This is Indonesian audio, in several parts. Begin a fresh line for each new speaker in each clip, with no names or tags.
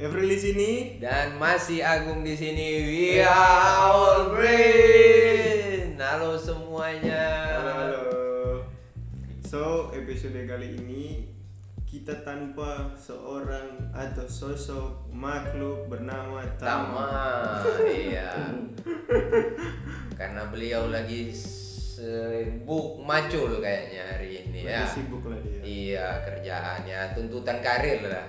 April di sini.
Dan masih Agung di sini. We are all green. Halo semuanya.
Halo, halo. So, episode kali ini kita tanpa seorang atau sosok makhluk bernama
Tama.
Tama.
iya. Karena beliau lagi sibuk macul kayaknya hari ini ya.
Lagi sibuk lah dia.
Iya, kerjaannya tuntutan karir lah.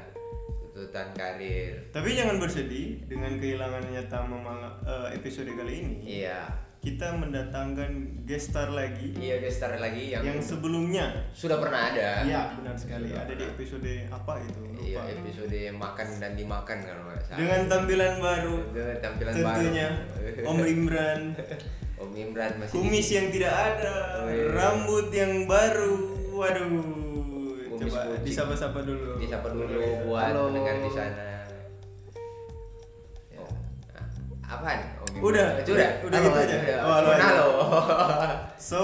Tuntutan karir.
Tapi jangan bersedih dengan kehilangannya Tama mala- eh, episode kali ini.
Iya.
Kita mendatangkan gestar lagi
Iya, guys, start lagi yang,
yang sebelumnya.
sudah pernah ada.
Iya, benar sekali.
Sudah
Ada di
pernah.
episode apa itu?
Iya,
Lupa.
episode makan dan dimakan kalau nggak salah.
Dengan tampilan baru
Dengan tampilan
tentunya
baru.
Om Imran
Om Imran masih
kumis
di-
yang tidak ada
Oh, iya.
rambut yang baru waduh
Kumis
coba
kucing.
disapa-sapa dulu
disapa dulu buat
Halo.
pendengar di sana. Oh. ah, Apaan? Om Imran? Eh, Ah,
Udah.
udah,
Udah
Halo,
gitu aja.
udah.
Oh, halo aja.
Halo.
so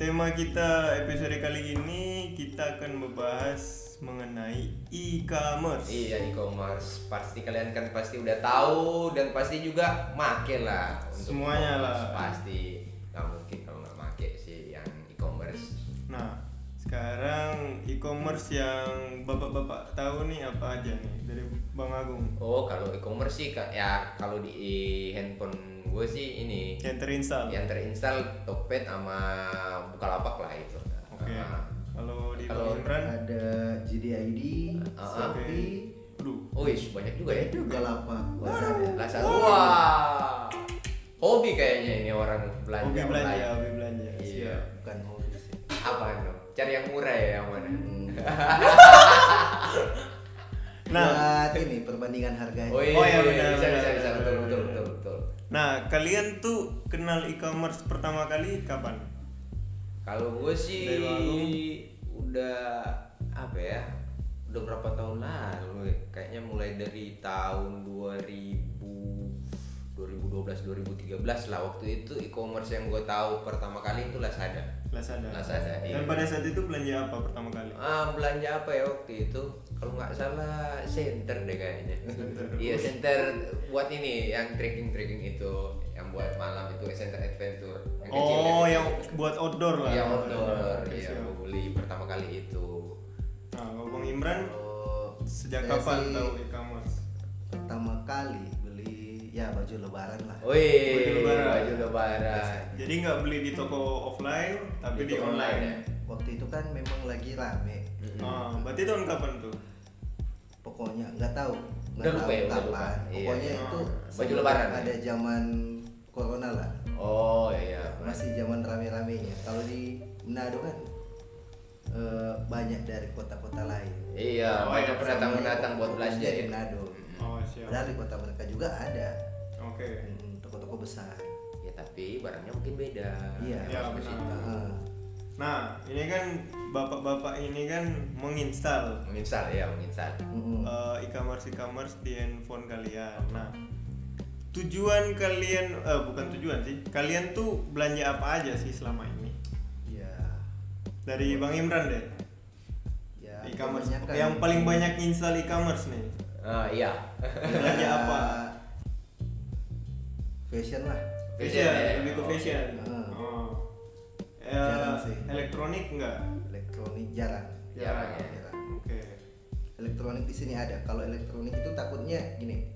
tema kita episode kali ini kita akan membahas mengenai e-commerce
Iya e-commerce pasti kalian kan pasti udah tahu dan pasti juga make lah untuk
Semuanya
e-commerce.
lah.
pasti nggak mungkin kalau nggak make sih yang e-commerce
nah sekarang e-commerce yang bapak-bapak tahu nih apa aja nih dari Bang Agung
Oh, kalau e-commerce sih Kak, ya kalau di handphone gue sih ini
yang terinstall
yang terinstall Tokped sama Bukalapak lah itu.
oke
Ah.
kalau di
Kalau
Bang Imran
ada JDID,
Ah, ah.
Shopee,
aduh
Oh, iya, banyak juga ya.
juga lapak, Lazada.
Lazada. Wah. Hobi kayaknya ini orang belanja.
hobi belanja
online.
hobi belanja
Iya.
siap.
Bukan ya. hobi sih.
Apa dong? Cari yang murah ya yang mana?
Hmm.
Nah.
Buat ini perbandingan harganya.
Oh iya,
Oh, iya,
iya,
benar, benar,
bisa, bisa, bisa,
benar,
betul,
benar, benar.
betul, betul, betul.
Nah, kalian tuh kenal e-commerce pertama kali kapan?
Kalau gue sih
Dari Agung.
udah apa ya? Udah berapa tahun lalu ya? Kayaknya mulai dari tahun 2000 2012 2013 lah waktu itu e-commerce yang gue tahu pertama kali itu Lazada.
Lazada.
Lazada, iya.
Dan pada saat itu belanja apa pertama kali?
Ah, belanja apa ya waktu itu? Kalau nggak salah center deh kayaknya.
Center.
Iya center buat ini yang trekking trekking itu yang buat malam itu center adventure yang kecil, ya.
Oh, yang
kecil.
buat outdoor lah.
Iya outdoor,
Oke,
iya
siap.
gue beli pertama kali itu.
Nah, kalau Bang Imran
Kalau
sejak
saya
kapan
sih
tahu e-commerce?
Pertama kali beli ya baju lebaran lah.
Oh.
Baju
Wih,
lebaran.
baju lebaran.
Jadi nggak beli di toko offline, tapi di,
Itu
online.
ya.
Waktu itu kan memang lagi rame.
Mm-mm.
Ah, berarti tahun kapan tuh?
Pokoknya nggak tahu,
Udah
nggak
lupa
tahu
ya, udah lupa.
kapan.
Iya.
Pokoknya
Ah,
itu
baju
sebelum
lebaran ya?
Ada zaman corona lah.
Oh iya.
masih zaman rame-ramenya kalau di Manado kan eh, banyak dari kota-kota lain
Iya,
Oh,
banyak
iya,
pendatang pendatang buat
Fokusnya
belanja.
di
ya.
Manado
Mm-mm.
Oh, siap.
padahal di kota mereka juga ada
Oke.
mm, toko-toko besar
Ya tapi barangnya mungkin beda.
Iya.
Yang
Iya,
masuk ke
benar.
situ.
Heeh.
Nah, ini kan bapak-bapak ini kan menginstal
Menginstal ya, menginstal.
Mm-mm.
eh, e-commerce e-commerce di handphone kalian. Nah, tujuan kalian eh, bukan tujuan sih. Kalian tuh belanja apa aja sih selama ini?
ya
Dari Bang Imran deh.
ya
E-commerce
kebanyakan-
yang paling banyak install e-commerce nih.
Ah, iya.
Belanja
Ya,
apa?
fashion lah
Fashion,
ya.
lebih ke
Oke.
fashion.
Hmm.
Oh. Eh,
Jarang sih.
elektronik enggak?
elektronik jarang
Jarang ya.
Jarang.
Oke.
elektronik di sini ada kalau elektronik itu takutnya gini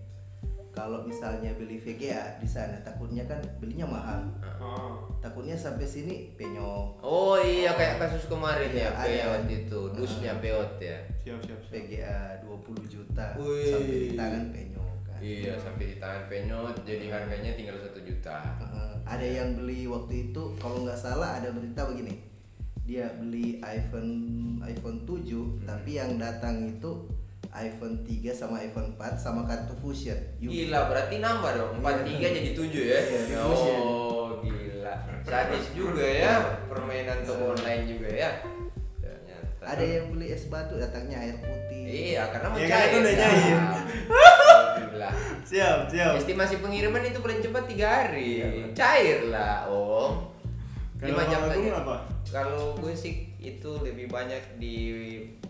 kalau misalnya beli VGA di sana takutnya kan belinya mahal
Oh.
takutnya sampai sini penyok
Oh iya kayak kasus kemarin
Iya,
ya
ada.
peot itu, dusnya peot ya.
Siap, siap, siap.
PGA 20 juta
Wih.
sampai di tangan penyok kan.
Iya sampai di tangan penyot jadi harganya tinggal satu juta.
Heeh, Eh, ada yang beli waktu itu kalau nggak salah ada berita begini dia beli iPhone iPhone 7
Hmm.
tapi yang datang itu iPhone 3 sama iPhone 4 sama kartu fusion Yubi.
Gila berarti nambah dong
Iya.
43 jadi 7 ya.
Iya, di fusion.
Oh gila. Sadis juga ya
Iya.
permainan toko online juga ya. Ternyata.
ada yang beli es batu datangnya air putih
Iya karena
Iya,
mencair.
kan itu udah jahil.
Oh, Gila.
Siap, siap.
Estimasi pengiriman itu paling cepat 3 hari. Cair lah om.
Iya, Kalau
Lima jam
Bang Agung
aja.
apa?
Kalau gue sih itu lebih banyak di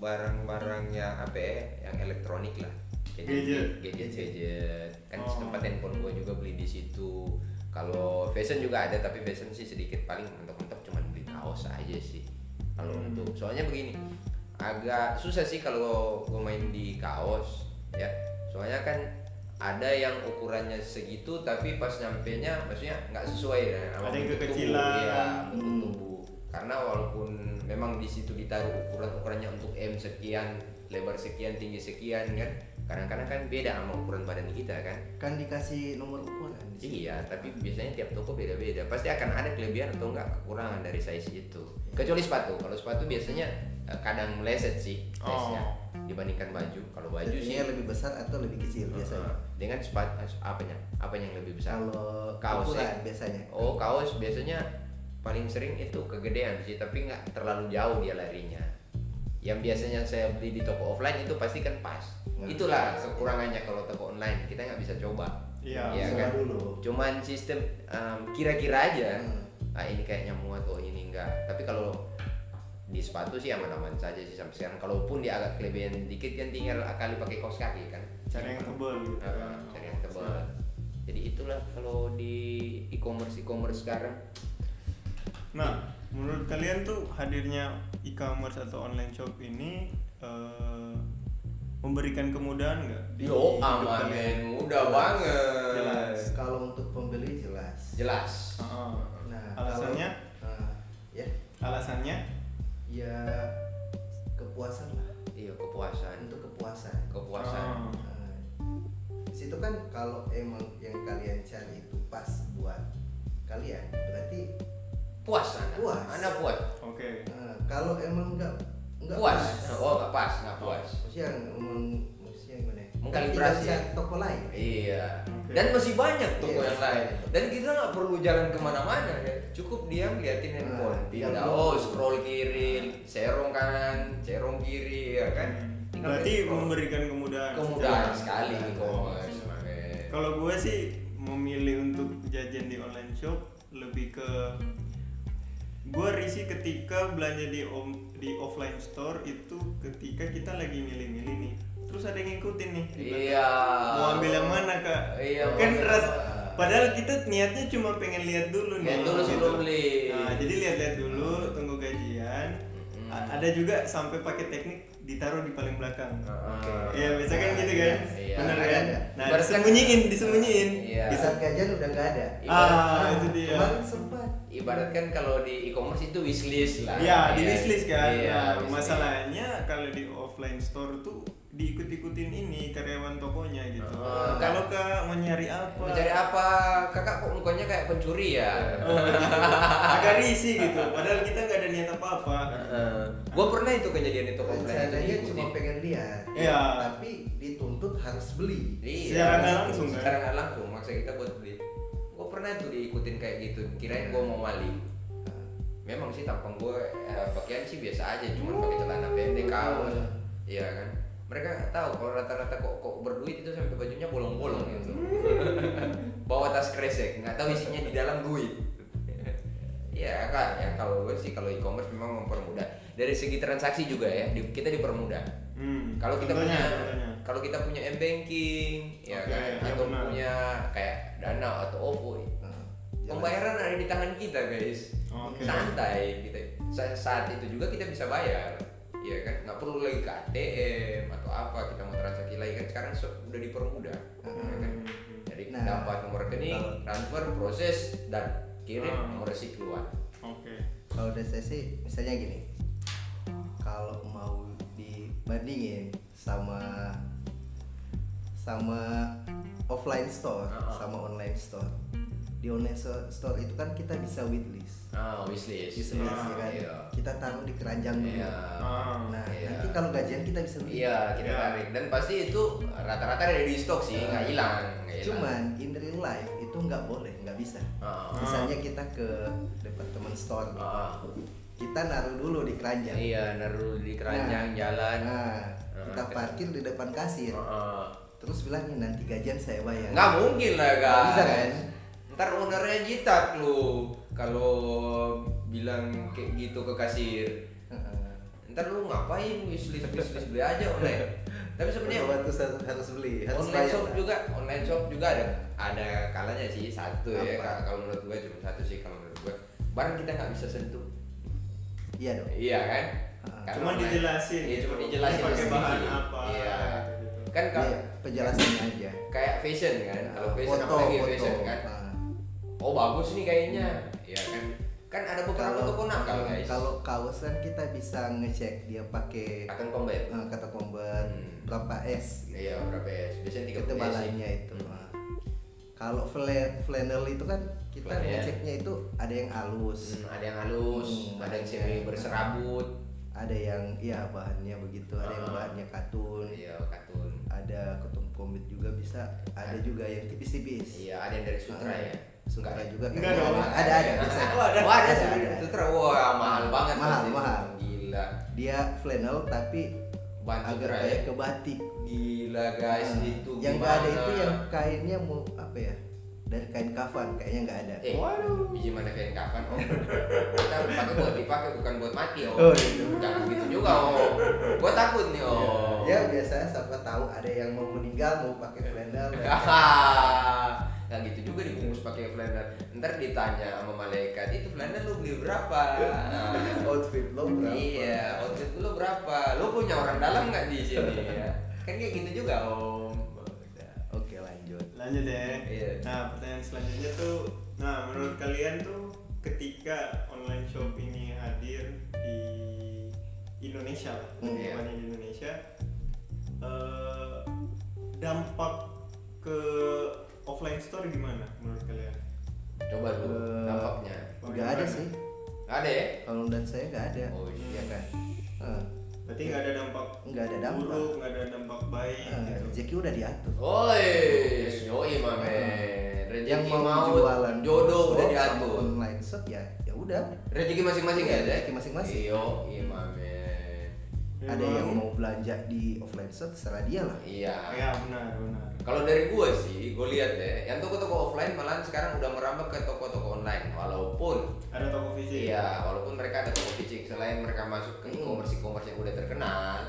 barang-barang yang apa ya, yang elektronik lah.
Gadget.
gadget gadget gadget kan
Oh.
tempat handphone gua juga beli di situ kalau fashion juga ada tapi fashion sih sedikit paling mentok-mentok cuman beli kaos aja sih kalau
Hmm.
untuk soalnya begini agak susah sih kalau gua main di kaos ya soalnya kan ada yang ukurannya segitu tapi pas nyampe nya maksudnya nggak sesuai dengan sama
Ada yang
bentuk tubuh,
kekecilan.
ya, bentuk
Hmm.
tubuh karena walaupun memang di situ ditaruh ukuran ukurannya untuk m sekian lebar sekian tinggi sekian kan kadang-kadang kan beda sama ukuran badan kita kan
kan dikasih nomor ukuran di sini.
iya tapi biasanya tiap toko beda-beda pasti akan ada kelebihan atau enggak kekurangan dari size itu kecuali sepatu kalau sepatu biasanya eh, kadang meleset sih size-nya
Oh.
dibandingkan baju kalau baju sih
Jadinya lebih besar atau lebih kecil biasanya
eh, dengan sepatu eh, apanya apa yang lebih besar
kalau
Kaos,
ukuran biasanya
Oh kaos biasanya paling sering itu kegedean sih tapi nggak terlalu jauh dia larinya. Yang biasanya saya beli di toko offline itu pasti kan pas.
Hmm.
Itulah kekurangannya kalau toko online kita nggak bisa coba.
Iya,
Iya
Coba
kan?
dulu
Cuman sistem em, kira-kira aja.
Hmm.
Ah ini kayaknya muat oh ini enggak. Tapi kalau di sepatu sih aman-aman saja sih sampai sekarang. Kalaupun dia agak kelebihan dikit kan tinggal kali pakai kaos kaki kan.
cari yang tebel gitu kan.
Nah, cari yang tebal. Jadi itulah kalau di e-commerce e-commerce sekarang
Nah, menurut kalian tuh hadirnya e-commerce atau online shop ini eh, memberikan kemudahan nggak? di hidup
Yo
kalian?
aman men, mudah banget.
Jelas.
kalau untuk pembeli jelas
Jelas.
Heeh.
nah
Ah, Alasannya?
kalau, nah, ya
Alasannya?
ya kepuasan lah
Iya kepuasan,
untuk kepuasan
kepuasan.
Oh.
Nah, situ kan kalau emang yang kalian cari itu pas buat kalian berarti
Puas anak.
Puas.
Anak puas.
Oke.
eh, kalau emang nggak nggak
puas. Oh nggak pas, nggak puas.
maksudnya emang maksudnya gimana ya?
Mengkalibrasi
Kan tidak bisa toko lain
Iya.
Oke.
Dan masih banyak toko
Iya.
yang lain. Dan kita nggak perlu jalan kemana-mana ya. Cukup dia ngeliatin handphone.
Nah,
Tinggal
tinggal
oh
dulu.
scroll kiri, serong kanan, serong kiri, ya kan.
Hmm.
Tinggal
Berarti
scroll.
memberikan kemudahan.
kemudahan
secara-
sekali
Kemudahan.
e-commerce. makanya.
Kalau gue sih memilih untuk jajan di online shop lebih ke gue risih ketika belanja di om- di offline store itu ketika kita lagi milih-milih nih terus ada yang ngikutin nih di belakang.
Iya.
mau ambil yang mana kak?
Iya, mau
kan
ambil
ras.
yang mana?
Padahal kita niatnya cuma pengen lihat dulu nih.
Lihat dulu
gitu.
sebelum beli.
Nah, jadi lihat-lihat dulu, tunggu gajian.
Mm.
A- ada juga sampai pakai teknik ditaruh di paling belakang.
Heeh.
Iya, biasa kan gitu kan?
Ah, Iya.
Benar
Ada,
kan?
ada.
Nah,
Ibaratkan-
disembunyiin, disembunyiin.
Iya.
di saat kajian udah nggak ada Nah,
Ibarat-
Ah, itu dia.
kemarin sempat
Iya. Ibaratkan kan kalau di e-commerce itu wishlist lah.
Iya, di wishlist kan.
Ah, Iya,
Nah,
wishlist.
masalahnya kalau di offline store tuh diikut-ikutin ini karyawan tokonya gitu.
Ah.
kalau kak mau nyari apa?
Mau cari apa? Kakak kok mukanya kayak pencuri ya?
Oh, gitu. agak risih gitu. Padahal kita nggak ada niat apa-apa.
Heeh. Gua pernah itu kejadian itu komplain itu
rencananya
diikuti.
Kan Nah, cuma pengen lihat
Iya.
tapi dituntut harus beli
Iya.
Secara nggak langsung, kan?
Secara nggak langsung maksa kita buat beli. Gua pernah tuh diikutin kayak gitu. Kirain gua mau maling. Memang sih tampang gue pakaian sih biasa aja, cuman pakai celana pendek kaos. Iya kan? Mereka nggak tahu kalau rata-rata kok kok berduit itu sampai bajunya bolong-bolong gitu. Bawa tas kresek, nggak tahu isinya di dalam duit. Iya kan, ya kalau gue sih kalau e-commerce memang mempermudah. Dari segi transaksi juga ya, di- kita dipermudah
Hmm.
kalau kita
Contohnya,
punya
contohnya.
kalau kita punya m banking ya
Oke,
kan
iya
atau
benar.
punya kayak dana atau ovo
Nah, jelas.
pembayaran ada di tangan kita guys
Oke.
santai kita Sa- saat itu juga kita bisa bayar ya kan nggak perlu lagi ke ATM atau apa kita mau transaksi lagi kan sekarang so- udah dipermudah ya
Hmm.
kan? jadi
Nah,
dapat nomor rekening
kalau-
transfer proses dan kirim
Ah.
nomor resip keluar
Oke.
kalau dari saya sih misalnya gini kalau mau dibandingin sama sama offline store
Uh-uh.
sama online store di online so- store itu kan kita bisa wishlist
ah wishlist
wishlist
Ah,
ya kan
iya.
kita taruh di keranjang dulu
Iya.
Ah.
nah
Iya.
nanti kalau gajian kita bisa beli
Iya, kita
Iya.
tarik dan pasti itu rata-rata ada di stok sih, nggak
Iya.
hilang, nggak hilang.
cuman in real life itu nggak boleh nggak bisa
Ah.
misalnya kita ke department store nih,
Ah.
kita naruh dulu di keranjang
iya naruh di keranjang
Nah.
jalan.
Nah, kita
Ah.
parkir di depan kasir.
Ah.
Terus bilangnya nanti gajian ya." saya bayar.
Nggak mungkin lah
Iya. Nggak
guys.
bisa, kan?
Ntar ownernya jitak lu kalau bilang kayak gitu ke kasir.
Heeh.
Ntar lu ngapain wishlist wishlist beli aja online. tapi sebenarnya
Berobat tuh harus harus beli, harus
online
bayar,
shop
Pak.
juga online shop juga ada ada kalanya sih satu ya
Apa?
Kak. kalau menurut gue cuma satu sih kalau menurut gue barang kita nggak bisa sentuh
Iya dong.
iya kan
Ah.
Karena
Cuman
online-
dijelasin
iya
gitu.
cuma dijelasin
Ini pakai
sendiri.
bahan apa,
iya
gitu.
kan kalau
Iya, penjelasannya aja.
kayak fashion kan kalau
Ah,
fashion
foto,
apalagi
foto.
fashion kan
Ah.
oh bagus nih kayaknya ya kan kan ada beberapa
Kalau-
toko nakal guys
Kalau kaosan kita bisa ngecek dia pakai
akan combat
eh, kata combat
Hmm.
berapa S gitu.
iya Hmm. berapa ya biasanya tiga
ketebalannya itu. Ah. Kalau fla- flannel itu kan kita
Flannel.
ngeceknya itu ada yang halus,
Hmm, ada yang halus
Hmm,
ada yang
ada
semi
yang-
berserabut
ada yang ya bahannya begitu, ada yang
Ah.
bahannya katun,
iya katun
ada ketum komit juga bisa, ada juga yang tipis-tipis.
iya ada yang dari sutra
Ah.
ya
Sutra
Enggak ya?
juga
Enggak
kayaknya
dong.
Ah, ada ada, ada bisa.
oh ada
Wah, ada,
ada,
ada.
sutra wah mahal banget
Mahal,
pasti.
mahal.
gila
Dia flannel tapi
bahan
agak
sutra ya
kayak ke batik.
gila guys
Ah,
itu
yang nggak ada
gimana?
itu yang kainnya mau apa ya? Dari kain kafan kayaknya nggak ada.
Eh,
Waduh.
biji mana kain kapan om? Kita pakai buat dipakai bukan buat mati om.
Oh, gitu.
Jangan begitu juga om. Gua takut nih om.
Ya biasanya siapa tahu ada yang mau meninggal mau pakai flannel. ya.
Nah Ya. gitu juga dibungkus pakai planner. Ntar ditanya sama malaikat itu planner lu beli berapa? Nah,
outfit lo Oh, berapa?
Iya, outfit lu berapa? Lu punya orang dalam nggak di sini? ya? Kan kayak gitu juga om.
Oke lanjut.
lanjut deh
Eh.
Iya.
nah pertanyaan selanjutnya tuh nah menurut kalian tuh ketika online shop ini hadir di Indonesia lah,
Hmm,
iya.
bukan di Indonesia eh, dampak ke offline store gimana menurut kalian
Coba lu
Eh,
nampaknya.
Nggak ada sih.
Ada ya?
Kalau dan saya nggak ada.
Oh iya
Iya kan? Eh,
berarti nggak ada dampak
Nggak ada dampak.
buruk nggak ada dampak baik
eh,
gitu
rezeki udah diatur.
Oi, yoi mamen. Rezeki
yang mau
maut,
jualan Oh,
jodoh udah
shop sama
diatur.
online shop ya ya udah
Rezeki masing-masing ya,
Rezeki masing-masing.
Yo, iya mamen.
Ya,
ada
bang.
yang mau belanja di offline shop serah dia lah
Iya.
ya benar benar
Kalau dari gua sih, gua lihat deh, yang toko-toko offline malahan sekarang udah merambah ke toko-toko online. Walaupun
ada toko fisik
Iya, walaupun mereka ada toko fisik selain mereka masuk ke e-commerce e-commerce yang udah terkenal.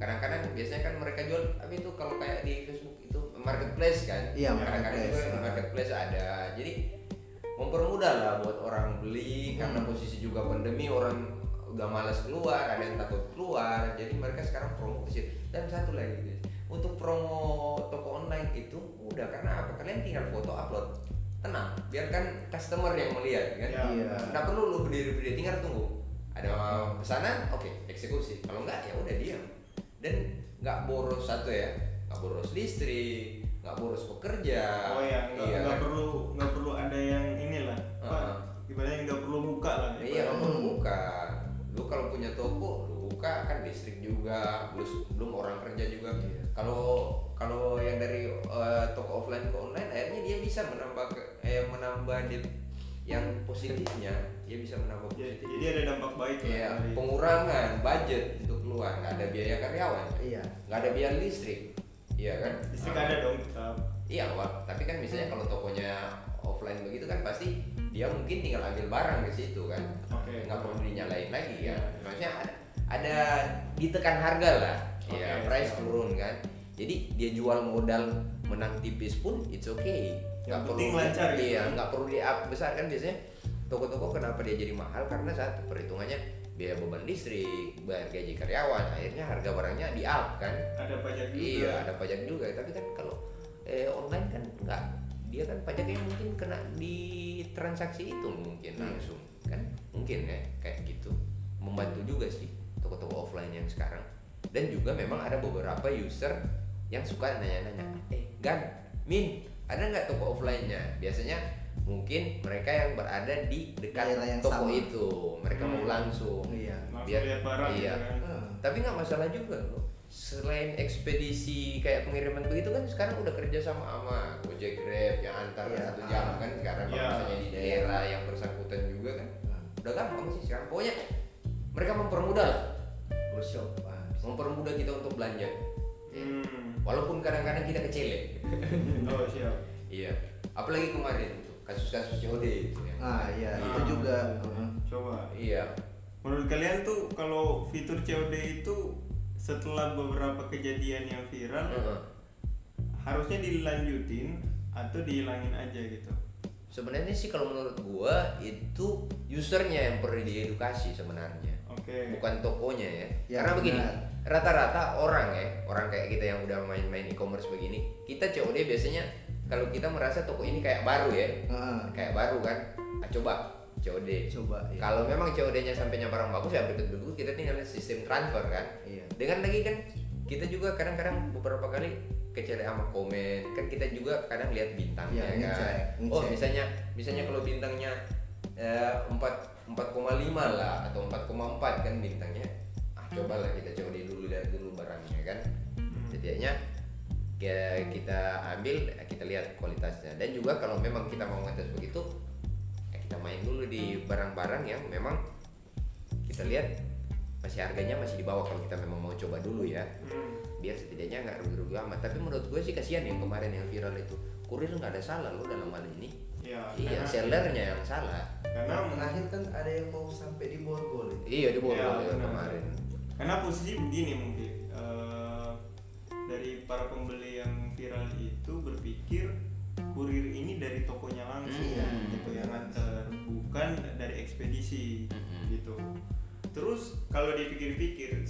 Kadang-kadang biasanya kan mereka jual tapi itu kalau kayak di Facebook itu marketplace kan.
Iya,
kadang-kadang juga
marketplace.
di marketplace ada. Jadi mempermudah lah buat orang beli karena
Hmm.
posisi juga pandemi orang udah malas keluar, ada yang takut keluar. Jadi mereka sekarang promo ke situ. Dan satu lagi guys, untuk promo toko online itu udah karena apa? Kalian tinggal foto upload. Tenang, biarkan customer yang melihat kan.
Ya,
Iya.
benar.
Nggak perlu lu berdiri-berdiri, tinggal tunggu. Ada pesanan, oke, eksekusi. Kalau nggak ya udah diam. Dan nggak boros satu ya, nggak boros listrik, nggak boros pekerja.
Oh ya, nggak
iya,
nggak
kan?
perlu nggak perlu ada yang inilah, Pak.
Heeh.
Ibaratnya nggak perlu buka lah.
Nah, Iya, nggak
ibaratnya.
perlu buka. Lu kalau punya toko, lu buka kan listrik juga, belum belum orang kerja juga.
Iya.
Kalau kalau yang dari eh, toko offline ke online, akhirnya dia bisa menambah ke, eh, menambah di, yang positifnya, dia bisa menambah
Ya,
positif.
Jadi ada dampak baik lah.
Iya,
dari-
pengurangan budget untuk keluar, nggak ada biaya karyawan,
iya
nggak ada biaya listrik, iya kan?
Listrik
Ah,
ada dong tetap.
Iya, Wak. tapi kan misalnya kalau tokonya offline begitu kan pasti dia mungkin tinggal ambil barang ke situ kan,
Oke.
nggak perlu dinyalain lagi ya. Maksudnya ada, ada ditekan harga lah, ya
Oke,
price
siap.
turun kan. Jadi dia jual modal menang tipis pun it's okay.
Yang
Nggak
penting lancar gitu.
Iya, nggak perlu di up besar kan biasanya toko-toko kenapa dia jadi mahal karena satu perhitungannya biaya beban listrik, bayar gaji karyawan, akhirnya harga barangnya di up kan.
Ada pajak juga.
Iya, ada pajak juga. Tapi kan kalau eh, online kan enggak. Dia kan pajaknya mungkin kena di transaksi itu mungkin
Hmm.
langsung kan? Mungkin ya kayak gitu. Membantu juga sih toko-toko offline yang sekarang. Dan juga memang ada beberapa user yang suka nanya-nanya, "Eh, Gan, Min, ada nggak toko offline-nya?" Biasanya mungkin mereka yang berada di dekat
Daerah yang
toko
sama.
itu, mereka mau
Hmm.
langsung.
iya
Langsung
Biar-
lihat barang
iya.
gitu kan.
Ah,
Tapi nggak masalah juga loh. Selain ekspedisi kayak pengiriman begitu kan sekarang udah kerja sama sama Gojek Grab yang antar
Iya.
satu jam kan sekarang kalau
Iya.
misalnya di daerah yang bersangkutan juga kan
ah,
udah gampang sih sekarang pokoknya mereka mempermudah lah
workshop ah, bisa.
mempermudah kita untuk belanja Iya.
Hmm.
walaupun kadang-kadang kita kecele
Oh siap.
iya apalagi kemarin tuh kasus-kasus COD itu ya
ah iya itu
Nah,
juga ah.
Coba.
iya
Menurut kalian tuh kalau fitur COD itu setelah beberapa kejadian yang viral
Heeh.
harusnya dilanjutin atau dihilangin aja gitu
Sebenarnya sih kalau menurut gua itu usernya yang perlu diedukasi sebenarnya.
oke
bukan tokonya ya.
Ya,
Karena begini,
benar.
rata-rata orang ya, orang kayak kita yang udah main-main e-commerce begini, kita COD biasanya kalau kita merasa toko ini kayak baru ya,
Heeh.
kayak baru kan, ah, coba COD.
coba ya.
Kalau memang COD-nya sampainya barang bagus ya berikut berikut kita tinggal sistem transfer kan.
Iya.
Dengan lagi kan kita juga kadang-kadang beberapa kali kecele sama komen kan kita juga kadang lihat bintangnya
Iya,
kan.
ngecek,
Oh
ngecek.
misalnya misalnya kalau bintangnya eh, empat empat koma lah atau 4,4 kan bintangnya ah cobalah kita coba dulu lihat dulu barangnya kan setidaknya ya, kita ambil eh, kita lihat kualitasnya dan juga kalau memang kita mau ngetes begitu ya kita main dulu di barang-barang yang memang kita lihat masih harganya masih di bawah kalau kita memang mau coba dulu ya
Hmm.
biar setidaknya nggak rugi-rugi amat tapi menurut gue sih kasihan yang kemarin yang viral itu kurir nggak ada salah lo dalam hal ini
ya karena,
iya sellernya yang salah
karena
Nah, terakhir kan ada yang mau sampai di borgol itu.
iya
Iya,
di bawah
benar.
kemarin
karena posisi begini mungkin eh, dari para pembeli yang viral itu berpikir kurir ini dari tokonya langsung
Hmm.
gitu yang nganter bukan dari ekspedisi
Mhm.
gitu terus kalau dipikir-pikir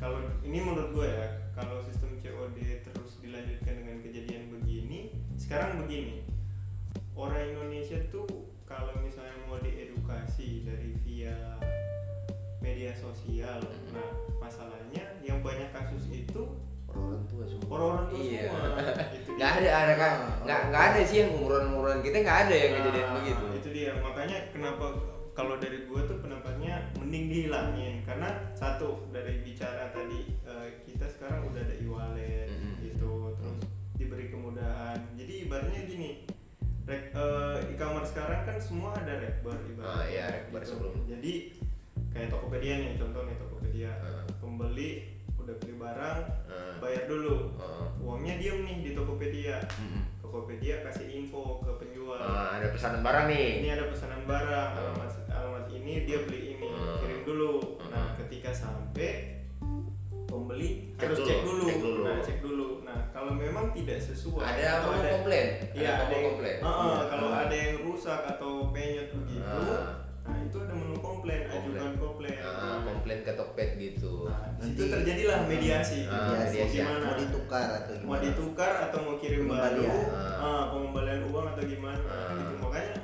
kalau ini menurut gue ya kalau sistem COD terus dilanjutkan dengan kejadian begini sekarang begini orang Indonesia tuh kalau misalnya mau diedukasi dari via media sosial
Hmm.
nah masalahnya yang banyak kasus itu
orang tua semua
orang-orang tua
Iya.
semua gitu. Itu
nggak
dia.
ada ada kan nggak nggak ada sih yang umuran umuran kita nggak ada yang
Nah,
kejadian begitu
itu dia makanya kenapa kalau dari gue tuh pendapatnya mending dihilangin karena satu dari bicara tadi eh, kita sekarang udah ada e-wallet
Mm-mm.
gitu terus diberi kemudahan jadi ibaratnya gini rek, eh, e-commerce sekarang kan semua ada rekber ibaratnya gitu.
Ah, iya, rekber sebelum.
jadi kayak Tokopedia nih contohnya Tokopedia
Ah.
pembeli udah beli barang
Ah.
bayar dulu
Ah.
uangnya diem nih di Tokopedia
Mm-mm.
Tokopedia kasih info ke penjual
Ah, Eh, ada pesanan barang nih
ini ada pesanan barang alamat alamat ini dia beli ini
Hmm.
kirim dulu nah
Hmm.
ketika sampai pembeli
Cek
harus
dulu,
cek dulu.
cek dulu.
nah cek dulu nah kalau memang tidak sesuai
ada
atau
mau komplain
iya
ada
ada
mau
yang
komplain
Eh, eh, kalau
Ah.
ada yang rusak atau penyet begitu
Ah.
nah itu ada menu komplain ajukan komplain
Ah, komplain ke Tokped gitu
nah di situ
Nanti-
terjadilah mediasi
Ah,
Mau
mediasi.
gimana?
Iya Mau ditukar atau
mau
gimana?
ditukar atau mau kirim baru
Pengembalian.
ah, pengembalian uang atau gimana
Ah.
gitu makanya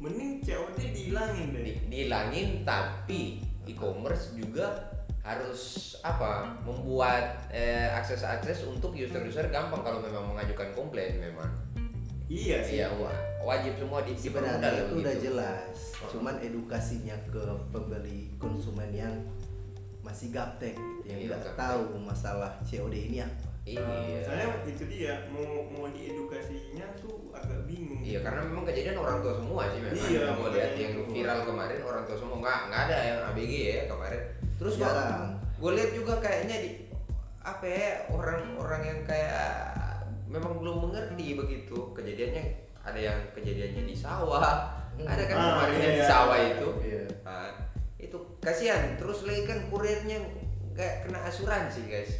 mending COD dihilangin deh
Di- dihilangin tapi e-commerce juga harus apa membuat eh, akses-akses untuk user-user gampang kalau memang mengajukan komplain memang
iya sih
iya wa- wajib semua di dipermudah
Sebenarnya
lah
itu
begitu.
udah jelas. Cuman edukasinya ke pembeli konsumen yang masih gaptek, gitu, yang
Iya,
nggak
gaptek.
tahu masalah COD ini apa.
iya
saya itu dia mau mau diedukasinya tuh agak bingung
Iya karena memang kejadian orang tua semua sih memang.
Iya,
Kita mau lihat
makanya
yang
itu.
viral kemarin orang tua semua nggak nggak ada yang ABG ya kemarin. Terus gua-
Jarang.
Gua lihat juga kayaknya di apa ya orang-orang yang kayak memang belum mengerti begitu kejadiannya ada yang kejadiannya di sawah
Hmm.
ada kan
Ah,
kemarin
iya,
yang di
iya.
sawah itu
Iya.
Ah, itu kasihan terus lagi kan kurirnya nggak kena asuransi guys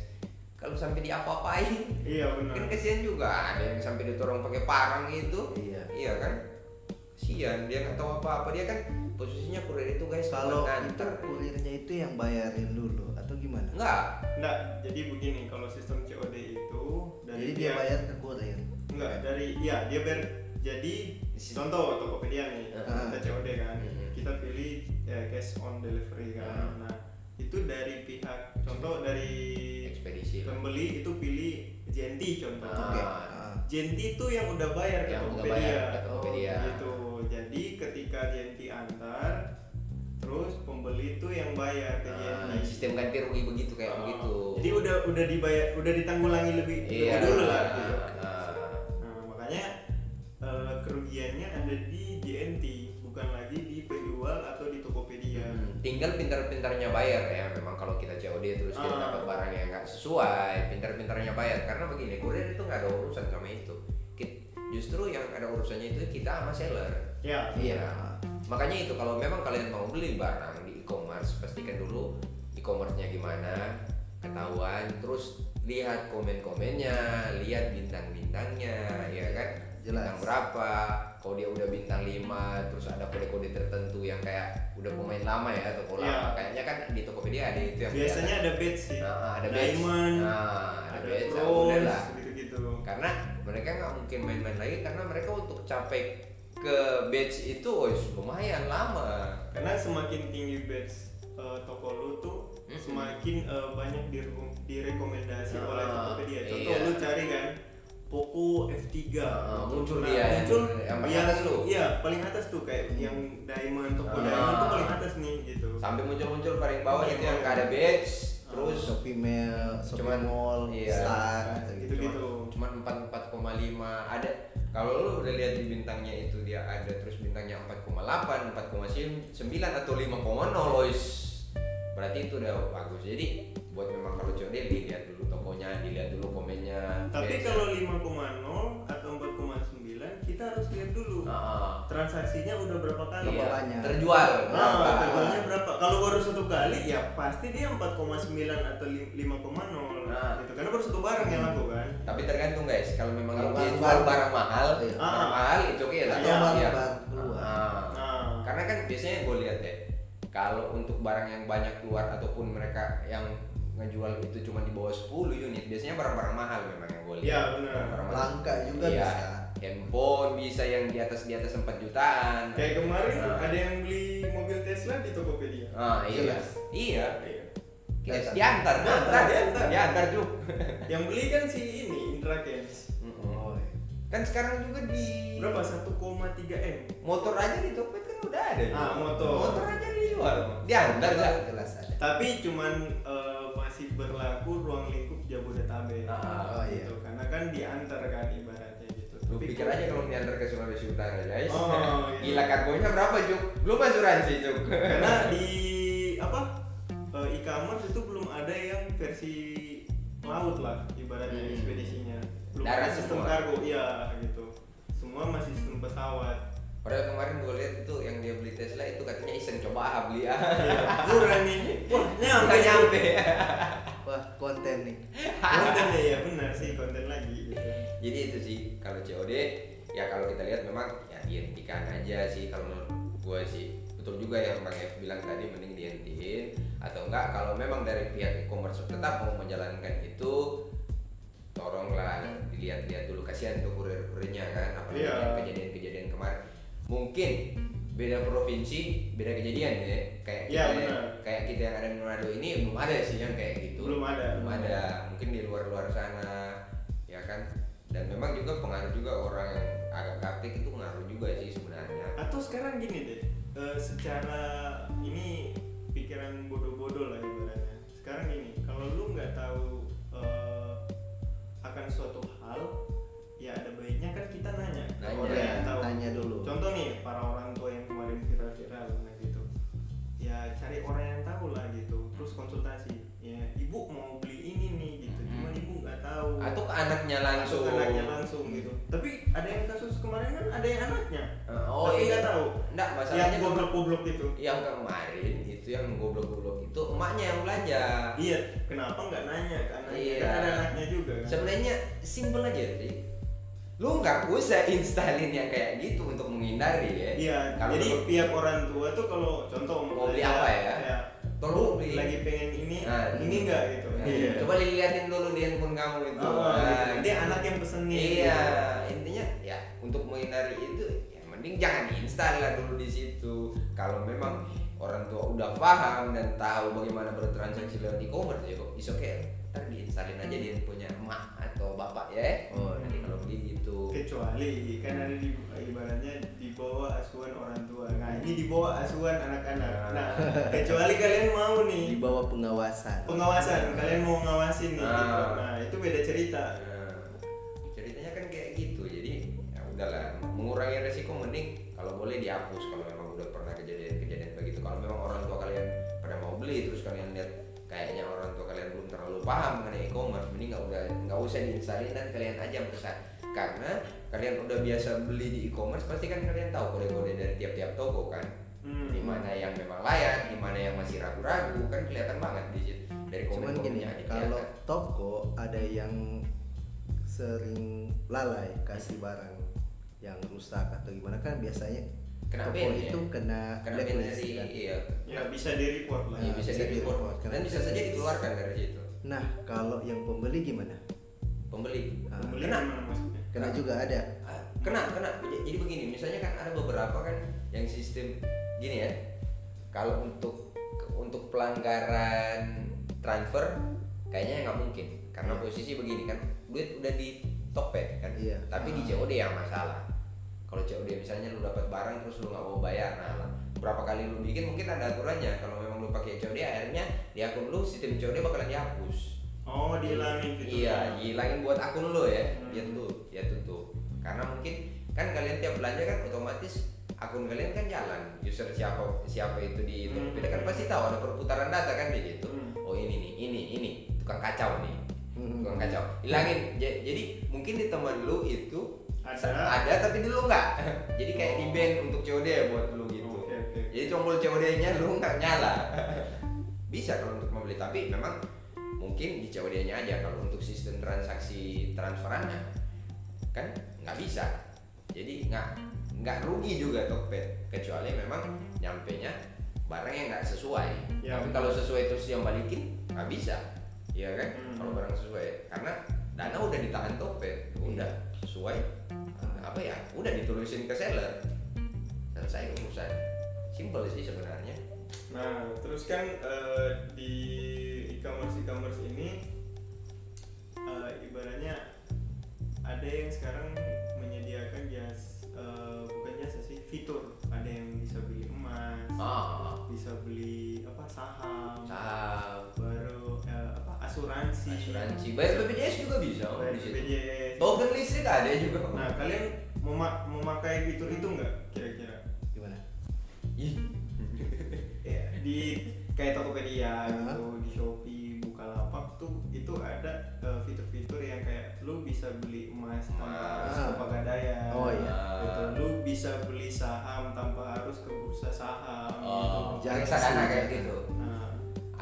kalau sampai diapa-apain
iya
kan
benar
kasihan juga ada yang sampai ditorong pakai parang gitu
Iya.
iya kan kasihan dia nggak tahu apa apa dia kan posisinya kurir itu guys
Kalau
buat
itu
nganter.
kurirnya itu yang bayarin dulu atau gimana?
enggak
enggak jadi begini kalau sistem COD itu dari
Jadi dia bayar ke kurir.
enggak dari iya dia bayar jadi
Sis-
contoh Tokopedia nih
Ah.
kita COD kan
Mhm.
kita pilih ya, cash on delivery kan
Ah.
nah itu dari pihak contoh dari
ekspedisi lah.
pembeli itu pilih Genti contoh.
Ah.
Oke. Ah.
Genti itu yang udah bayar ke
Yang udah
Tokopedia.
bayar ke Tokopedia.
Oh, gitu. Jadi ketika Genti antar, terus pembeli itu yang bayar ke
Ah,
Genti.
sistem ganti rugi begitu kayak
Oh.
begitu
Jadi udah udah dibayar, udah ditanggulangi lebih
iya
lebih dulu lah. gitu.
ah,
Nah, makanya eh, kerugiannya ada di Genti, bukan lagi di penjual atau di Tokopedia.
Hmm, tinggal pintar-pintarnya bayar ya memang kalau kita COD terus kita
Ah.
dapat barang yang nggak sesuai pintar-pintarnya bayar karena begini kurir itu nggak ada urusan sama itu Kit- justru yang ada urusannya itu kita sama seller
Ya.
Iya.
Ah,
Makanya itu kalau memang kalian mau beli barang di e-commerce pastikan dulu e-commerce-nya gimana, ketahuan terus lihat komen-komennya lihat bintang-bintangnya ya kan
Jelas.
bintang berapa kalau dia udah bintang 5 terus ada kode-kode tertentu yang kayak udah pemain lama ya toko
Iya.
lama kayaknya kan di Tokopedia ada itu yang
biasanya ada bed sih
kelihatan. Nah, ada badge.
diamond
Nah, ada,
ada
badge, nah, udah
bronze
lah
gitu-gitu
karena mereka nggak mungkin main-main lagi karena mereka untuk capai ke badge itu oh, lumayan lama
karena semakin tinggi badge eh, toko lu tuh
Mm-mm.
semakin eh, banyak dire- direkomendasi
Ah,
oleh Tokopedia contoh
iya.
lu cari kan Poco F3
Ah, muncul
Nah,
dia yang-
muncul
yang paling
yang-
atas lu.
iya paling atas tuh kayak yang diamond toko
Ah.
diamond tuh paling atas nih gitu
sampai muncul-muncul paling bawah itu yang nggak ada badge terus
Shopee Mail, Shopee
Cuman,
Mall,
iya.
Star, gitu.
gitu-gitu
cuman 4 4,5 ada kalau lu udah lihat di bintangnya itu dia ada terus bintangnya 4,8 4,9 atau 5,0 lois berarti itu udah bagus jadi buat memang kalau COD dilihat dulu tokonya dilihat dulu komennya
Tapi
Biasa.
kalau 5,0 atau 4,9 kita harus lihat dulu
Ah, ah.
transaksinya udah berapa kali.
Iya,
banyak.
terjual berapa?
Nah, terjualnya berapa? Kalau baru satu kali ya pasti dia 4,9 atau lim- 5,0
Nah.
gitu. Karena baru satu barang yang laku kan.
tapi tergantung guys kalau memang
Kalau
dia
barang-
jual barang mahal
Iya.
barang
Ah.
mahal itu oke lah
Atau
Iya,
baru
Iya.
baru keluar.
Ah.
Nah,
karena kan biasanya gue lihat ya kalau untuk barang yang banyak keluar ataupun mereka yang ngejual itu cuma di bawah 10 unit biasanya barang-barang mahal memang yang gue lihat
Iya, benar.
Barang-barang mahal.
Langka juga
Iya.
bisa.
handphone bisa yang di atas di atas 4 jutaan
kayak kemarin tuh
Nah.
ada yang beli mobil Tesla di Tokopedia.
ah, iya
Jelas.
iya
Iya.
Guys,
Datang.
diantar diantar
Datang, diantar.
diantar juga
Yang beli kan si ini Indra Kens.
Mm-mm.
Oh, iya.
kan sekarang juga di
Berapa? 1,3 m.
motor aja di Tokped kan udah ada
Ah, motor.
motor aja dijual diantar lah
jelas ada.
Tapi cuman eh, masih berlaku ruang lingkup Jabodetabek.
Ah,
oh, iya.
gitu. Karena kan diantar kan ibaratnya gitu.
Lu
Tapi
pikir
kok-
aja kalau diantar ke Sulawesi Utara guys
Oh, iya.
Gila kargonya berapa Juk? Belum asuransi Juk
karena di apa eh, e-commerce itu belum ada yang versi laut lah ibaratnya
Hmm.
ekspedisinya. Belum
Darat
ada sistem
semua.
kargo, iya gitu. Semua masih sistem pesawat.
Padahal kemarin gue lihat itu yang dia beli Tesla itu katanya iseng coba ah beli ah
Iya, Murah nih. Wah, nyampe
Nggak nyampe
Wah, konten nih.
Konten ya, ya benar sih konten lagi gitu.
Jadi itu sih kalau COD ya kalau kita lihat memang ya dihentikan aja sih kalau menurut gue sih Betul juga yang Bang F bilang tadi mending dihentiin Atau enggak kalau memang dari pihak e-commerce tetap mau menjalankan itu tolonglah dilihat-lihat dulu kasihan tuh kurir-kurirnya kan apalagi
Iya.
yang kejadian-kejadian kemarin mungkin beda provinsi beda kejadian ya kayak
Iya,
kita
benar.
kayak kita yang ada di Manado ini belum ada sih yang kayak gitu
Belum ada.
belum ada mungkin di luar-luar sana ya kan dan memang juga pengaruh juga orang yang agak aktif itu pengaruh juga sih sebenarnya
atau sekarang gini deh eh, secara ini pikiran bodoh-bodoh lah ibaratnya sekarang gini kalau lu nggak tahu eh, akan suatu hal ya ada baiknya kan kita nanya ke
Nanya,
orang yang tahu
tanya dulu.
contoh nih para orang tua yang kemarin viral-viral nah gitu ya cari orang yang tahu lah gitu terus konsultasi ya ibu mau beli ini nih gitu
Hmm.
cuman ibu nggak tahu
atau ke anaknya langsung
Langsung anaknya langsung gitu tapi ada yang kasus kemarin kan ada yang anaknya
Eh, oh
Tapi
iya
nggak tahu.
enggak
yang
masalahnya kemarin-
goblok-goblok itu
yang kemarin itu yang goblok-goblok itu emaknya yang belanja
iya kenapa nggak nanya ke anaknya
Nah. Iya.
kan ada anaknya juga kan
sebenarnya simple aja sih lu nggak usah installin yang kayak gitu untuk menghindari ya
iya
kalau
jadi
lu-
pihak orang tua tuh kalau contoh
Mau beli apa ya? Tolong beli.
lagi pengen ini
Nah,
ini nggak gitu
Nah,
iya
coba dilihatin dulu di handphone kamu itu
Oh,
Nah,
gitu. nanti anak yang gitu. pesen nih
iya intinya ya untuk menghindari itu ya mending jangan install lah dulu di situ kalau memang orang tua udah paham dan tahu bagaimana bertransaksi lewat e-commerce ya kok oke ntar diinstalin aja di handphonenya emak atau bapak ya
Oh,
nanti kalau beli gitu
kecuali kan ada di ibaratnya di bawah asuhan orang tua nah ini di bawah asuhan anak-anak nah kecuali kalian mau nih
Di bawah pengawasan.
pengawasan kalian mau ngawasin nih gitu.
Ah.
nah itu beda cerita
Nah, ceritanya kan kayak gitu jadi ya udahlah mengurangi resiko mending kalau boleh dihapus kalau memang udah pernah kejadian-kejadian begitu kalau memang orang tua kalian pada mau beli terus kalian lihat kayaknya orang tua kalian belum terlalu paham mengenai e-commerce mending nggak udah nggak usah diinstalin dan kalian aja yang pesan karena kalian udah biasa beli di e-commerce pasti kan kalian tahu kode-kode dari tiap-tiap toko kan
Hmm.
di mana yang memang layak di mana yang masih ragu-ragu kan kelihatan banget di situ dari
Cuman gini,
komen-komennya aja iya.
kalau sering lalai kasih barang yang rusak atau gimana kan biasanya
Kena
toko
ban ya?
itu kena
Kena ban
blacklist,
dari
kan?
iya.
ya bisa di report lah
Iya,
Nah,
bisa di
bisa
report
di-report,
dan
kena
bisa saja dikeluarkan dari situ.
Nah, kalau yang pembeli gimana?
Pembeli.
Ah,
Pembeli
Kena.
gimana maksudnya?
Kena
Nah.
juga ada.
Ah, Kena, kena. Jadi begini, misalnya kan ada beberapa kan yang sistem gini ya. Kalau untuk untuk pelanggaran transfer kayaknya nggak mungkin karena
Iya.
posisi begini kan duit udah di Tokped kan.
Iya.
Tapi di COD yang masalah. Kalau COD misalnya lu dapat barang terus lu nggak mau bayar, nah lah, berapa kali lu bikin mungkin ada aturannya. Kalau memang lu pakai COD akhirnya di akun lu sistem COD bakalan dihapus.
oh dihilangin gitu
Iya, dihilangin buat akun lo ya.
Hmm.
Dia tutup, dia tutup. Karena mungkin kan kalian tiap belanja kan otomatis akun kalian kan jalan. User siapa siapa itu di itu.
Hmm.
kan pasti tahu ada perputaran data kan di situ.
Hmm.
Oh ini nih, ini ini tukang kacau nih.
Hmm.
Tukang kacau. Hilangin. Ja- Jadi mungkin di teman lu itu
Ada.
ada tapi di lu enggak. Jadi kayak di band untuk COD ya buat lu gitu.
Oke, oke.
Jadi tombol COD-nya lu nggak nyala. Bisa kalau untuk membeli tapi memang mungkin di COD-nya aja kalau untuk sistem transaksi transferannya kan nggak bisa. Jadi nggak nggak rugi juga Tokped kecuali memang nyampe nya barang yang nggak sesuai.
Ya.
Tapi kalau sesuai terus yang balikin nggak bisa. Iya kan?
Hmm.
Kalau barang sesuai karena dana udah ditahan Tokped, udah sesuai
Ah,
apa ya? Udah ditulusin ke seller. Selesai urusan. Simpel sih sebenarnya.
Nah, terus kan eh, di e-commerce e-commerce ini eh, ibaratnya ada yang sekarang menyediakan jas eh, bukan jasa sih fitur. Ada yang bisa beli emas,
Ah,
bisa beli apa saham,
saham,
baru eh, apa asuransi, Nah,
asuransi, bayar BPJS juga bisa. om,
bayar
di situ.
BPJS.
Token listrik ada juga. om.
Nah, kalian mema- memakai fitur itu nggak kira-kira?
Gimana?
Iya,
Ih, Iya.
ya, di kayak Tokopedia
Hah?
gitu di Shopee Bukalapak tuh itu ada eh, fitur-fitur yang kayak lu bisa beli emas tanpa
Emas.
harus ke pegadaian
Oh, iya.
gitu. lu bisa beli saham tanpa harus ke bursa saham
Oh,
gitu.
Jangan
jangan sana
sih.
kayak gitu.
nah,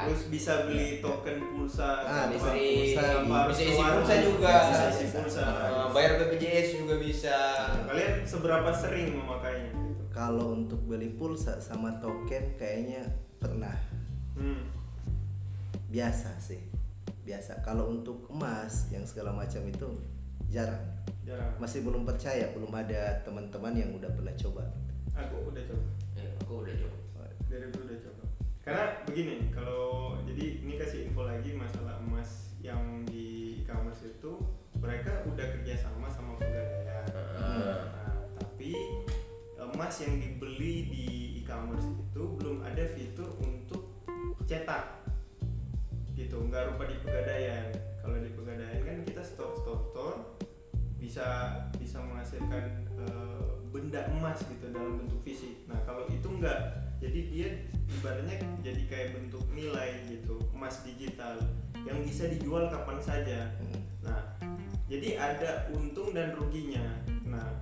terus bisa beli token pulsa
Ah,
tanpa-
Iya. bisa di-
tanpa harus
bisa isi
keluar
pulsa
rumah.
juga.
bisa isi pulsa
Eh, bayar BPJS juga bisa.
Nah, kalian seberapa sering memakainya gitu
Kalau untuk beli pulsa sama token kayaknya pernah
hmm.
biasa sih. Biasa. Kalau untuk emas yang segala macam itu jarang.
jarang
Masih belum percaya, belum ada teman-teman yang udah pernah coba.
aku udah coba
Eh, aku udah coba.
dari dulu udah coba karena begini kalau jadi ini kasih info lagi masalah emas yang di e-commerce itu mereka udah kerjasama sama pegadaian
Heeh.
nah, tapi eh, emas yang dibeli di e-commerce itu belum ada fitur untuk cetak gitu nggak rupa di pegadaian kalau di pegadaian kan kita store store store bisa bisa menghasilkan eh, benda emas gitu dalam bentuk fisik nah kalau itu enggak jadi dia ibaratnya jadi kayak bentuk nilai gitu emas digital yang bisa dijual kapan saja
Hmm.
Nah, jadi ada untung dan ruginya. Nah,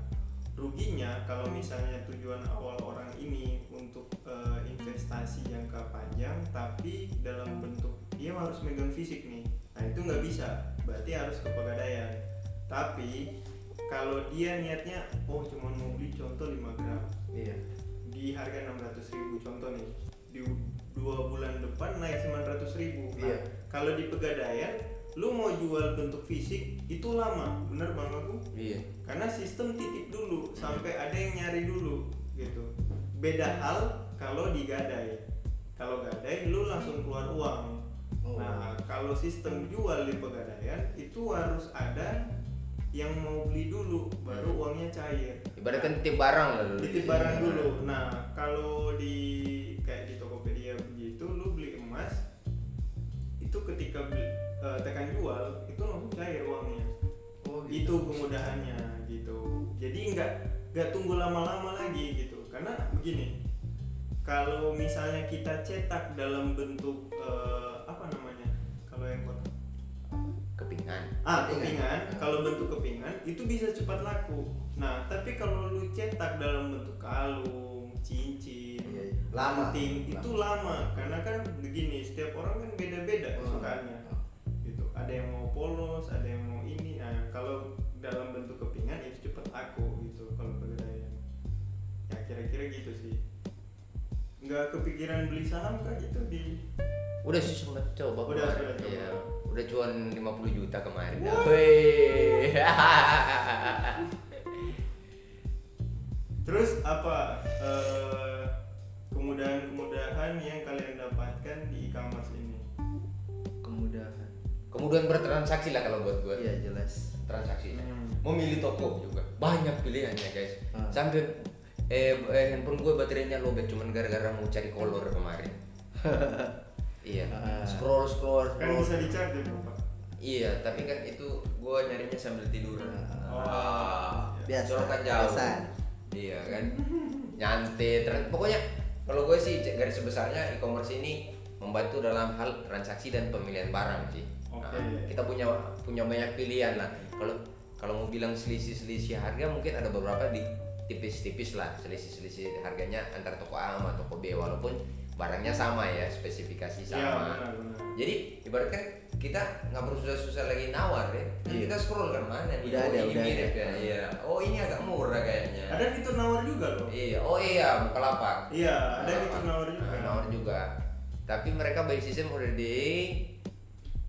ruginya kalau misalnya tujuan awal orang ini untuk eh, investasi jangka panjang, tapi dalam bentuk dia harus megang fisik nih. Nah, itu nggak bisa. Berarti harus ke pegadaian. Tapi kalau dia niatnya, oh cuma mau beli contoh 5 gram
Iya.
di harga 600.000 contoh nih di dua bulan depan naik 900.000 nah,
Iya.
kalau di pegadaian lu mau jual bentuk fisik itu lama bener bang aku
Iya.
karena sistem titip dulu sampai ada yang nyari dulu gitu beda hal kalau di gadai kalau gadai lu langsung keluar uang
Oh.
nah kalau sistem jual di pegadaian itu harus ada yang mau beli dulu baru uangnya cair
Ibaratkan titip barang lah dulu.
titip barang dulu nah kalau di kayak di Tokopedia begitu lu beli emas itu ketika beli, eh, tekan jual itu langsung cair uangnya
Oh,
itu kemudahannya gitu jadi nggak nggak tunggu lama-lama lagi gitu karena begini kalau misalnya kita cetak dalam bentuk eh, apa namanya kalau yang kotak
Kepingan.
ah
Kepingan.
kepingan kalau bentuk kepingan itu bisa cepat laku nah tapi kalau lu cetak dalam bentuk kalung cincin
Iya, iya. Lama.
lanting itu lama karena kan begini setiap orang kan beda-beda
Oh.
kesukaannya gitu ada yang mau polos ada yang mau ini nah kalau dalam bentuk kepingan itu cepet aku gitu kalau pegadaian ya kira-kira gitu sih nggak kepikiran beli saham kah gitu di
Udah sih sempat coba
Udah,
kemarin.
udah coba.
Iya. Udah cuan 50 juta kemarin.
Wah.
Wih.
terus apa eh, kemudahan-kemudahan yang kalian dapatkan di e-commerce ini
kemudahan
Kemudian bertransaksi lah kalau buat gue.
iya jelas
Transaksi.
Hmm.
Memilih toko juga. Banyak pilihannya, guys.
Hmm.
Sampai eh, eh, handphone gue baterainya lobet cuman gara-gara mau cari color kemarin. iya.
Ah.
Scroll scroll
kan
scroll.
Oh.
bisa dicari bapak
Iya, tapi kan itu gue nyarinya sambil tidur.
Oh.
Ah, Biasa,
Sorokan kan jauh.
biasa.
Iya kan. Nyantai, tren- pokoknya kalau gue sih garis besarnya e-commerce ini membantu dalam hal transaksi dan pemilihan barang sih.
Oke.
Nah, kita punya punya banyak pilihan lah. Kalau kalau mau bilang selisih-selisih harga mungkin ada beberapa di tipis-tipis lah selisih-selisih harganya antar toko A sama toko B walaupun barangnya sama ya spesifikasi sama
Iya, benar-benar.
jadi ibaratkan kita nggak perlu susah-susah lagi nawar ya kan
Iya.
kita scroll kan mana nih
Udah
oh,
ada,
ini
udah
mirip
ada.
ya iya oh ini agak murah kayaknya
ada fitur nawar juga loh
iya oh iya buka lapak
iya ada fitur nawar juga
nawar juga tapi mereka by system udah di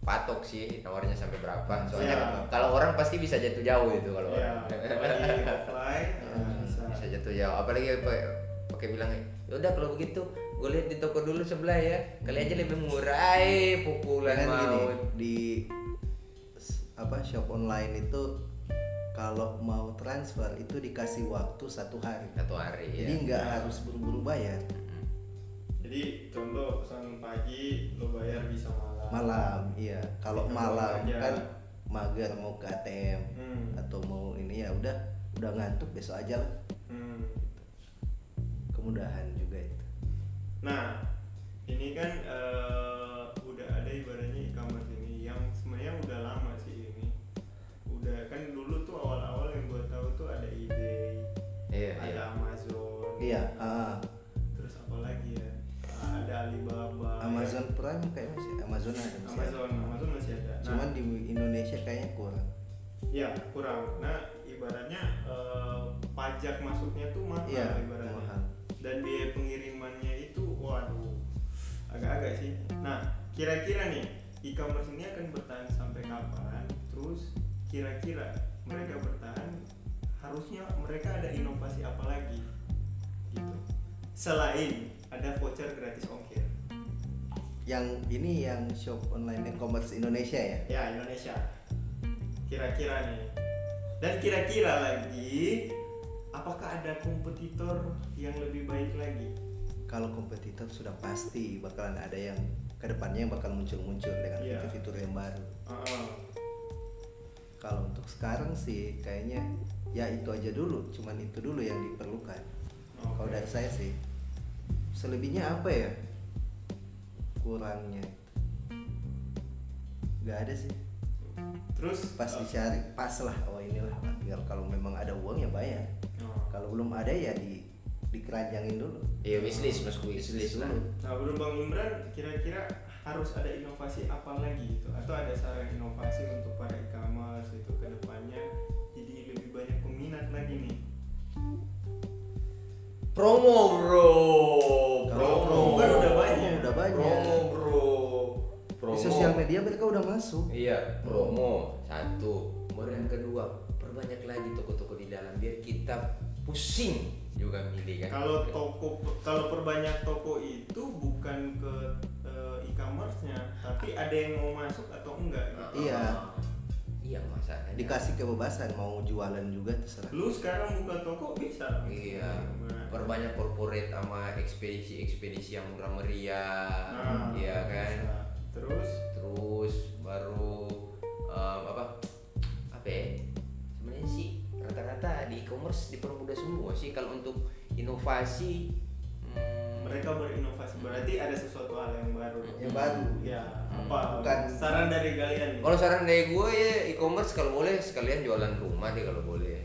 patok sih nawarnya sampai berapa soalnya
Iya.
kalau orang pasti bisa jatuh jauh itu kalau
Iya,
orang
di offline eh, bisa.
bisa jatuh jauh apalagi pakai pakai bilang "Ya udah kalau begitu gue lihat di toko dulu sebelah ya kali aja lebih murah eh pukulan
kan gini
mau
di s- apa shop online itu kalau mau transfer itu dikasih waktu satu hari
satu hari ya.
jadi nggak harus buru-buru bayar
Jadi contoh pesan pagi lo bayar bisa malam.
malam iya kalau
Kalau
malam
aja.
kan mager mau ke ATM
Hmm.
atau mau ini ya udah udah ngantuk besok aja lah
Hmm.
kemudahan juga itu
Nah, ini kan eh, udah ada ibaratnya e-commerce ini yang sebenarnya udah lama sih ini. Udah kan dulu tuh awal-awal yang gue tahu tuh ada eBay,
Iya,
ada
iya.
Amazon,
iya ah,
terus apa lagi ya? Ah, Ada Alibaba. ya.
ah. Amazon Prime kayaknya masih Amazon ada masih ada.
Amazon, Amazon masih ada. Nah,
cuman di Indonesia kayaknya kurang
Ya kurang. Nah ibaratnya eh, pajak masuknya tuh mahal
Iya,
ibaratnya.
mahal.
Dan biaya pengirimannya itu waduh agak-agak sih. Nah kira-kira nih e-commerce ini akan bertahan sampai kapan? Terus kira-kira mereka bertahan harusnya mereka ada inovasi apa lagi? Gitu. Selain ada voucher gratis ongkir.
yang ini yang shop online e-commerce Indonesia ya
ya Indonesia kira-kira nih dan kira-kira lagi apakah ada kompetitor yang lebih baik lagi
kalau kompetitor sudah pasti bakalan ada yang kedepannya yang bakal muncul-muncul dengan
Iya.
fitur-fitur yang baru
Heeh.
kalau untuk sekarang sih kayaknya ya itu aja dulu cuman itu dulu yang diperlukan
Oke.
kalau dari saya sih selebihnya apa ya kurangnya nggak ada sih
terus
pas
eh,
dicari pas lah oh inilah tinggal kalau memang ada uang ya bayar
oh.
kalau belum ada ya di dikeranjangin dulu
Iya wishlist mas gue wishlist
Bisnis
lah.
dulu
nah menurut Bang Imran kira-kira harus ada inovasi apa lagi gitu atau ada saran inovasi untuk para e-commerce itu kedepannya jadi lebih banyak peminat lagi nih
Promo bro, Oh,
Kalau
promo
promo
kan udah banyak.
udah banyak
Promo bro, promo.
di sosial media mereka udah masuk
Iya, promo satu. Kemudian yang kedua, perbanyak lagi toko-toko di dalam biar kita pusing juga milih kan.
kalau toko kalau perbanyak toko itu bukan ke eh, e-commerce-nya tapi ada yang mau masuk atau enggak gitu.
Iya.
Iya masalahnya.
dikasih kebebasan mau jualan juga terserah
lu sekarang buka toko bisa lah.
Iya.
Nah,
Perbanyak corporate sama ekspedisi-ekspedisi yang murah meriah.
nah,
Iya kan.
bisa. terus
Terus baru em, apa? Apa ya? Sebenarnya sih rata-rata di e-commerce dipermudah semua sih kalau untuk inovasi hmm,
mereka berinovasi berarti ada sesuatu hal yang baru
yang baru
ya
Hmm.
apa
Bukan.
saran dari kalian nih?
Kalau saran dari gue ya e-commerce kalau boleh sekalian jualan rumah deh kalau boleh.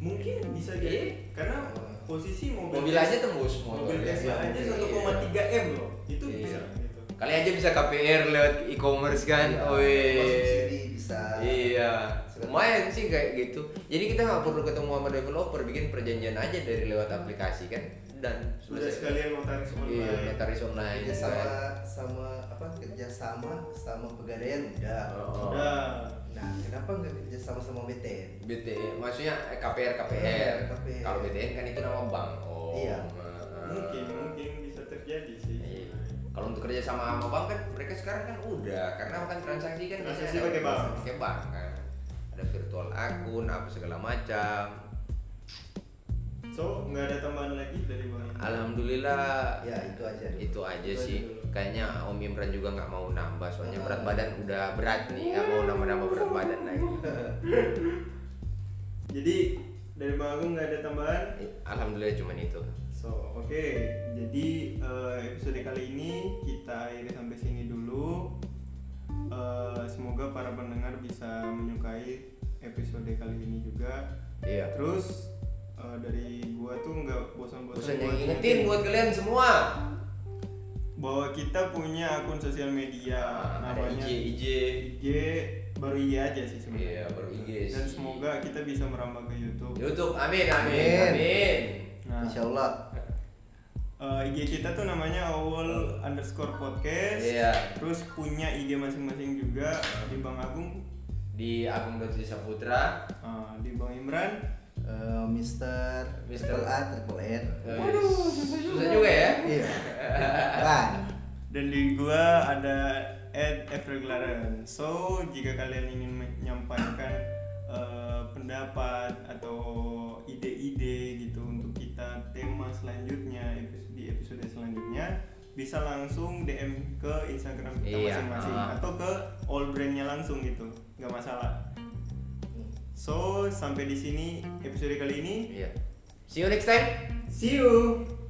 mungkin bisa
Iya.
jadi karena eh, posisi mobil
Mobil aja tembus motor
mobil
ya.
Tesla aja
Iya.
1,3 m loh itu
Iya.
bisa gitu
Kali aja bisa KPR lewat e-commerce kan.
Iya, masuk sini
Wih.
bisa.
Iya.
Sudah.
Lumayan sih kayak gitu. Jadi kita nggak perlu ketemu sama developer, bikin perjanjian aja dari lewat aplikasi kan dan
Udah sekalian notaris online.
Iya, notaris online.
kerja sama
kan.
sama apa kerja sama sama pegadaian udah
Oh.
Udah.
nah kenapa nggak kerja sama sama BTN
BTN maksudnya eh, KPR
Iya,
KPR.
KPR.
Kalau BTN kan itu nama bank. Oh.
Iya.
eh,
Mungkin mungkin bisa terjadi sih.
Iya. Kalau untuk kerja sama sama bank kan mereka sekarang kan udah karena kan transaksi kan biasanya
Transaksi
ada-
pakai bank.
pakai bank kan. Ada virtual akun apa segala macam.
So nggak ada tambahan lagi dari bang.
Alhamdulillah
ya itu aja dulu.
itu aja
Itu aja
sih.
dulu.
Kayaknya Om Imran juga nggak mau nambah soalnya
Ah.
berat badan udah berat nih nggak mau nambah-nambah berat badan lagi.
Jadi dari bang Agung nggak ada tambahan.
Alhamdulillah cuman itu.
So oke. Jadi eh, episode kali ini kita akhiri sampai sini dulu. Eh, semoga para pendengar bisa menyukai episode kali ini juga.
Iya.
Terus eh, dari gua tuh nggak bosan-bosan
Bosan yang
buat
ingetin buat kalian semua.
bahwa kita punya akun sosial media Nah,
Ada
namanya
IG IG.
IG baru IG aja sih
Iya
sebenarnya.
baru IG.
Dan
sih.
semoga kita bisa merambah ke YouTube.
YouTube. Amin amin
Amin.
amin.
Nah,
Insya Allah
eh, IG kita tuh namanya awal underscore podcast.
Iya.
Terus punya IG masing-masing juga eh, di Bang Agung,
di akun Dutri Saputra
eh, di Bang Imran.
eh, Mister
Mister. Eh.
Triple A Triple N
Waduh, susah juga. ya.
iya kan
Dan di gua ada Ed Everglaren. So jika kalian ingin menyampaikan eh, pendapat atau ide-ide gitu untuk kita tema selanjutnya epis- di episode selanjutnya bisa langsung DM ke Instagram kita
Iya,
masing-masing
ah.
atau ke all brandnya langsung gitu nggak masalah. So sampai di sini episode kali ini.
Iya. See you next time.
See you.